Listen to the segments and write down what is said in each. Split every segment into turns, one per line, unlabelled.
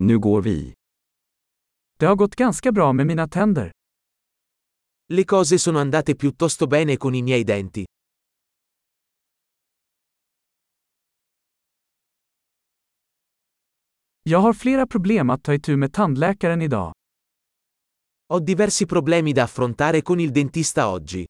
Nu går vi.
Det har gått ganska bra med mina tänder.
Le cose sono andate piuttosto bene con i miei denti.
Jag har flera problem att ta itu med tandläkaren idag.
Ho diversi problemi da affrontare con il dentista oggi.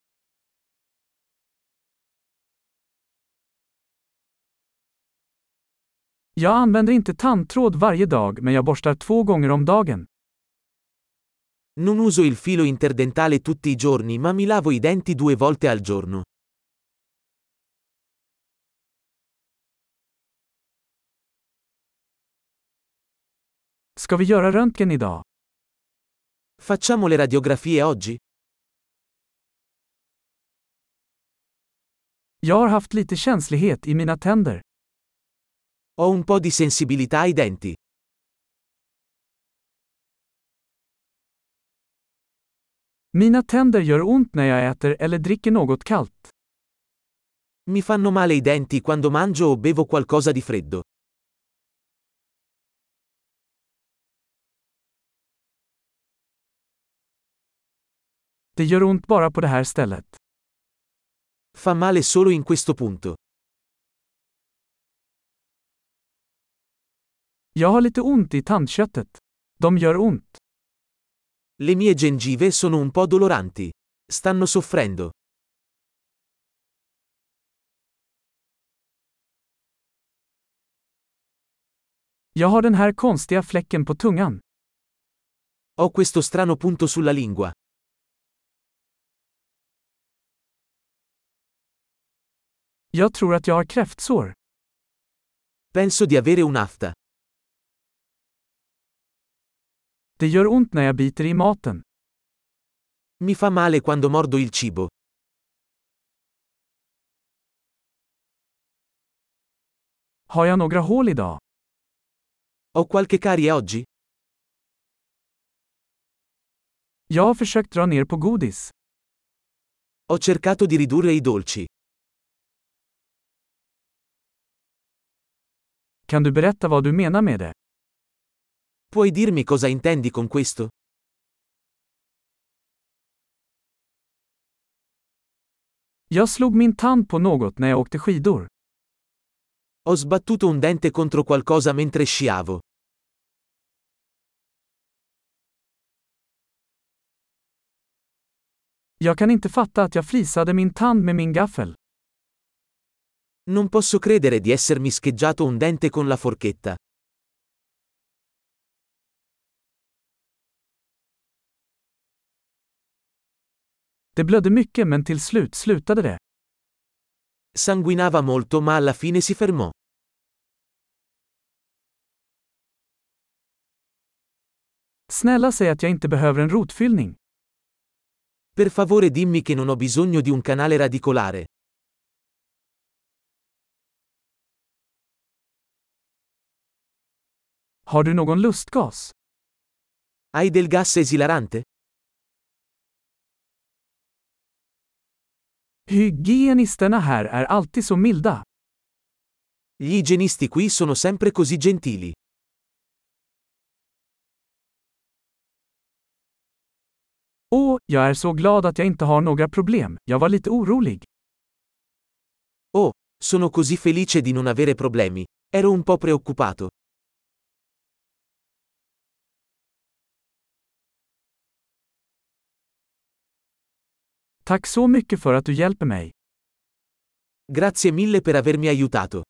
Jag använder inte tandtråd varje dag men jag borstar två gånger om dagen.
Non uso il filo interdentale tutti i giorni ma mi lavo i denti due volte al giorno.
Ska vi göra röntgen idag?
Facciamo le radiografie oggi?
Jag har haft lite känslighet i mina tänder.
Ho un po' di sensibilità ai denti.
Mina tänder gör ont när jag äter eller dricker något kallt.
Mi fanno male i denti quando mangio o bevo qualcosa di freddo.
Det gör ont bara på det här stället.
Fa male solo in questo punto.
Jag har lite ont i tandköttet. De gör ont.
Le mie gengive sono un po' doloranti. Stanno soffrendo.
Jag har den här konstiga fläcken på tungan.
Ho questo strano punto sulla lingua.
Jag tror att jag har kräftsår.
Penso di avere un'afta.
Det gör ont när jag biter i maten.
Mi fa male quando mordo il cibo.
Har jag några hål idag?
Ho qualche carie oggi?
Jag har försökt dra ner på godis.
Ho cercato di ridurre i dolci.
Kan du berätta vad du menar med det?
Puoi dirmi cosa intendi con questo?
Jag slog min tand på något när jag åkte skidor.
Ho sbattuto un dente contro qualcosa mentre sciavo.
Jag kan inte fatta att jag flisade min tand med min gaffel.
Non posso credere di essermi scheggiato un dente con la forchetta.
Det blödde mycket men till slut slutade det.
Sanguinava molto ma alla fine si fermò.
Snälla säg att jag inte behöver en rotfyllning.
Per favore dimmi che non ho bisogno di un canale radicolare.
Har du någon lustgas?
Hai del gas esilarante?
Hygienisterna här är alltid så milda.
Gli igienisti qui sono sempre così gentili.
Åh, jag är så glad att jag inte har några problem. Jag var lite orolig.
Oh, sono così felice di non avere problemi. Ero un po' preoccupato.
Tack så mycket för att du hjälper mig.
Grazie mille per avermi aiutato.